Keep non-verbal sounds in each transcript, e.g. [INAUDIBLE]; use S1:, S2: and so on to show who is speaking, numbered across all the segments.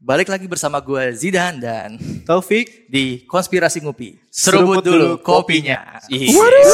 S1: Balik lagi bersama gue Zidan dan
S2: Taufik.
S1: di Konspirasi Ngupi.
S2: Seruput dulu kopinya.
S3: Iya.
S1: Yes.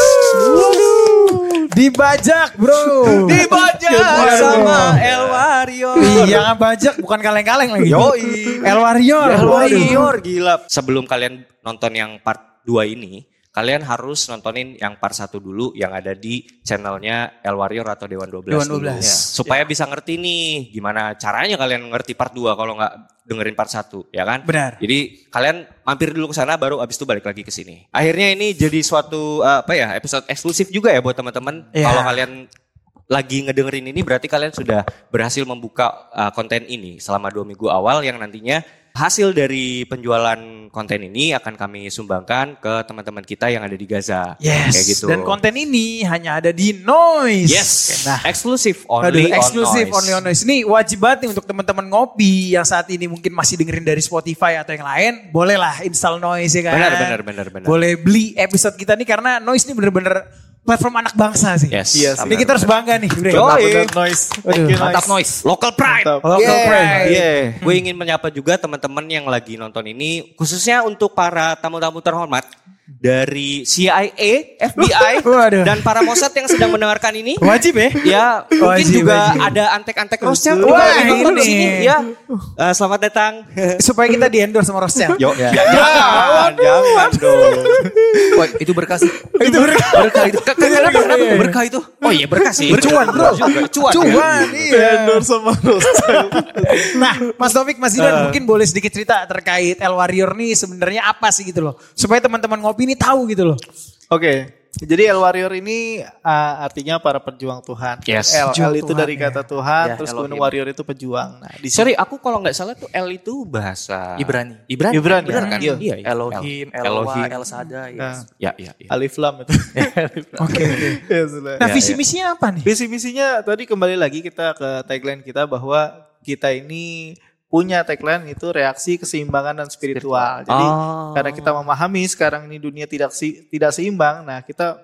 S4: Dibajak bro.
S1: [LAUGHS] Dibajak sama El Wario.
S4: Iya bajak bukan kaleng-kaleng lagi. Yoi. El Warrior.
S2: El Warrior
S1: gitu.
S2: gila.
S3: Sebelum kalian nonton yang part 2 ini, kalian harus nontonin yang part 1 dulu yang ada di channelnya El Warrior atau Dewan 12.
S1: Dewan
S3: dulu.
S1: 12, ya.
S3: Supaya bisa ngerti nih gimana caranya kalian ngerti part 2 kalau nggak dengerin part 1, ya kan?
S4: Benar.
S3: Jadi kalian mampir dulu ke sana baru abis itu balik lagi ke sini. Akhirnya ini jadi suatu eh, apa ya episode eksklusif juga ya buat teman-teman.
S4: Iya.
S3: Kalau kalian lagi ngedengerin ini berarti kalian sudah berhasil membuka eh, konten ini selama dua minggu awal yang nantinya hasil dari penjualan konten ini akan kami sumbangkan ke teman-teman kita yang ada di Gaza.
S4: Yes.
S3: Kayak gitu.
S4: Dan konten ini hanya ada di Noise.
S3: Yes.
S4: Nah,
S3: eksklusif
S4: Aduh,
S3: only
S4: eksklusif
S3: on
S4: only on noise. Ini wajib banget nih untuk teman-teman ngopi yang saat ini mungkin masih dengerin dari Spotify atau yang lain, bolehlah install noise ya kan.
S3: Benar, benar, benar, benar.
S4: Boleh beli episode kita nih karena noise ini bener-bener platform anak bangsa sih.
S3: Yes.
S2: Iya sih.
S4: Jadi kita harus bangga nih. Bre.
S3: Betul. Yoi.
S2: Mantap noise. Thank you,
S1: Mantap
S2: noise.
S1: noise.
S3: Local pride.
S2: Mantap.
S4: Local
S3: Yeah.
S4: pride.
S2: Yeah.
S3: Gue ingin menyapa juga teman-teman yang lagi nonton ini, khususnya untuk para tamu-tamu terhormat dari CIA, FBI,
S4: Waduh.
S3: dan para Mossad yang sedang mendengarkan ini.
S4: Wajib ya.
S3: Ya, mungkin
S4: Wajib,
S3: juga
S4: wajib.
S3: ada antek-antek Rothschild
S4: Wah,
S3: juga yang nonton di
S4: ini.
S3: sini. Ya, Eh, selamat datang.
S4: Supaya kita di endorse sama Rothschild.
S3: Yo,
S1: Ya,
S3: jangan, jangan dong.
S1: Wah, itu berkah sih.
S4: Itu berkah.
S1: Berkah itu. Ke- ke- Kenapa kenapa tuh berkah itu?
S3: Oh iya berkah sih.
S4: Cuan, bro.
S3: Juga, Cuan. ya.
S4: Cuan, iya.
S2: Endorse sama Rothschild.
S4: Nah, Mas Taufik, Mas
S3: Ah.
S4: Didan mungkin boleh sedikit cerita terkait El Warrior nih sebenarnya apa sih gitu loh. Supaya teman-teman ngopi ini tahu gitu loh.
S2: Oke, jadi El Warrior ini uh, artinya para perjuang Tuhan.
S3: Yes.
S2: El,
S4: Pejuang
S2: El itu
S4: Tuhan,
S2: dari
S4: ya.
S2: kata Tuhan,
S1: Ya,
S2: terus
S1: Elohim.
S2: kemudian Warrior itu pejuang. Nah, di sini
S3: Sorry, aku kalau nggak salah tuh L itu bahasa
S1: Ibrani.
S3: Ibrani.
S2: Ibrani,
S3: Bener
S2: ya?
S3: kan?
S2: Iya.
S3: Iya, iya.
S1: Elohim, Elowa, El Shaddai.
S2: Nah.
S1: yes.
S3: Ya, ya,
S4: Iya.
S3: ya.
S2: Alif Lam
S4: [LAUGHS]
S2: itu.
S4: Oke.
S2: Ya, sudah.
S4: Nah, visi misinya apa nih?
S2: Visi misinya tadi kembali lagi kita ke tagline kita bahwa kita ini punya tagline itu reaksi keseimbangan dan spiritual. Jadi
S4: Oh.
S2: karena kita memahami sekarang ini dunia tidak si- tidak seimbang, nah kita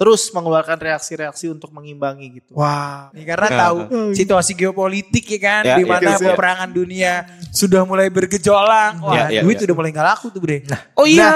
S2: terus mengeluarkan reaksi-reaksi untuk mengimbangi gitu.
S4: Wah, ini karena
S3: Nah,
S4: tahu situasi geopolitik ya kan,
S3: Ya,
S4: di mana
S2: iya, iya.
S4: peperangan dunia sudah mulai bergejolak. Wah,
S3: Ya, ya,
S4: duit
S3: ya.
S4: udah mulai nggak laku tuh bre. Nah,
S3: Oh iya.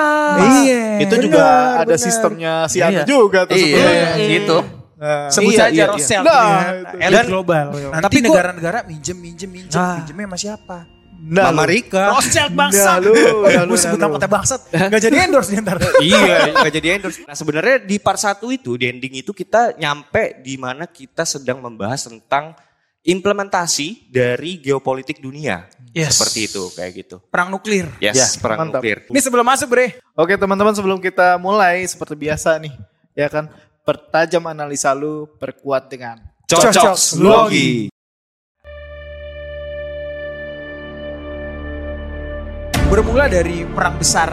S4: iya.
S2: itu
S4: benar,
S2: juga ada
S4: benar.
S2: sistemnya si
S1: Iya.
S2: Anu juga tuh
S1: Iya,
S2: sebenarnya.
S1: gitu.
S2: Nah,
S4: Sebut
S2: iya,
S4: saja
S2: iya,
S4: Rosel,
S2: iya. Nah, itu.
S4: elit
S3: Dan-
S4: global. Nanti
S3: Tapi gua-
S4: negara-negara minjem, minjem, minjem, minjemnya sama siapa?
S2: Nah,
S3: Mama
S2: lu.
S3: Rika.
S4: Rosel
S2: Nah,
S4: Oh, bangsat.
S2: lu, nah, lu,
S4: Gue sebut
S2: nah,
S4: nama
S2: lu.
S4: kata bangsat, [LAUGHS] nggak jadi endorse nih ntar.
S3: iya, nggak jadi endorse. Nah sebenarnya di part 1 itu, di ending itu kita nyampe di mana kita sedang membahas tentang implementasi dari geopolitik dunia.
S4: Yes.
S3: Seperti itu, kayak gitu.
S4: Perang nuklir.
S3: Yes,
S1: Ya,
S3: perang
S2: mantap.
S3: nuklir.
S4: Ini sebelum masuk bre.
S2: Oke teman-teman sebelum kita mulai seperti biasa nih ya kan pertajam analisa lu perkuat dengan
S3: Cocok Logi.
S4: Bermula dari perang besar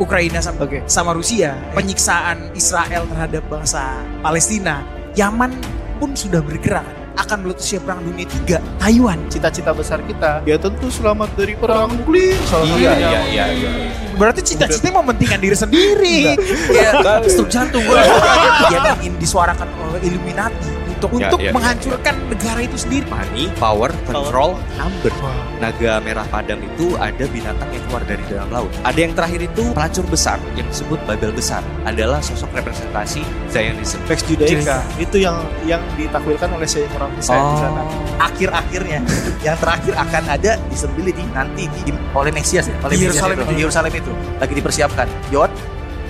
S4: Ukraina sama,
S2: Oke.
S4: sama Rusia, penyiksaan Israel terhadap bangsa Palestina, Yaman pun sudah bergerak akan meletusnya perang dunia 3 Taiwan.
S2: cita-cita besar kita ya tentu selamat dari perang nuklir salah
S3: Iya,
S2: satunya.
S3: iya, iya, iya.
S4: Berarti cita-citanya mementingkan diri sendiri.
S1: Iya, stroke jantung gue.
S4: yang ingin disuarakan oleh Illuminati untuk
S3: Ya,
S4: untuk
S3: ya, ya.
S4: menghancurkan negara itu sendiri.
S3: Money, power, control, number. Naga merah padam itu ada binatang yang keluar dari dalam laut. Ada yang terakhir itu pelacur besar yang disebut Babel besar adalah sosok representasi Zionism.
S2: Lex Judaica itu yang yang ditakwilkan oleh Syekh Muhammad Said di sana.
S1: Akhir-akhirnya yang terakhir akan ada disembelih di nanti di oleh Mesias ya, oleh
S4: Di
S1: Mesias
S4: Yerusalem
S1: itu,
S4: itu.
S1: di Yerusalem itu lagi dipersiapkan. Yod,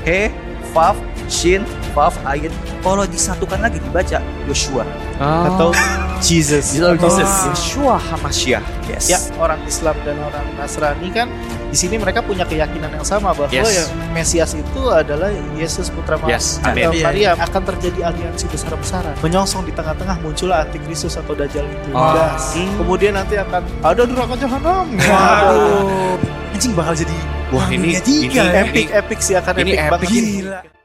S1: He, Vav, Shin, Vav, Ayin. Kalau disatukan lagi dibaca Yosua.
S2: atau Jesus.
S1: Jesus.
S3: Yeshua Hamashiach.
S1: Yes.
S2: Ya orang Islam dan orang Nasrani kan di sini mereka punya keyakinan yang sama bahwa
S3: Yes.
S2: ya Mesias itu adalah Yesus putra Ma-
S3: Yes,
S2: atau
S3: amin.
S2: Maria akan terjadi aliansi besar-besaran menyongsong di tengah-tengah muncullah antikristus atau dajjal itu
S3: Ah.
S2: Das. kemudian nanti akan ada neraka jahanam
S4: Waduh. Anjing bakal jadi
S3: Wah, ini-
S4: Dunia tiga
S3: ini-
S4: ya.
S2: epic epic sih
S3: Ini
S2: akan epic, banget
S3: epic.
S4: Gila.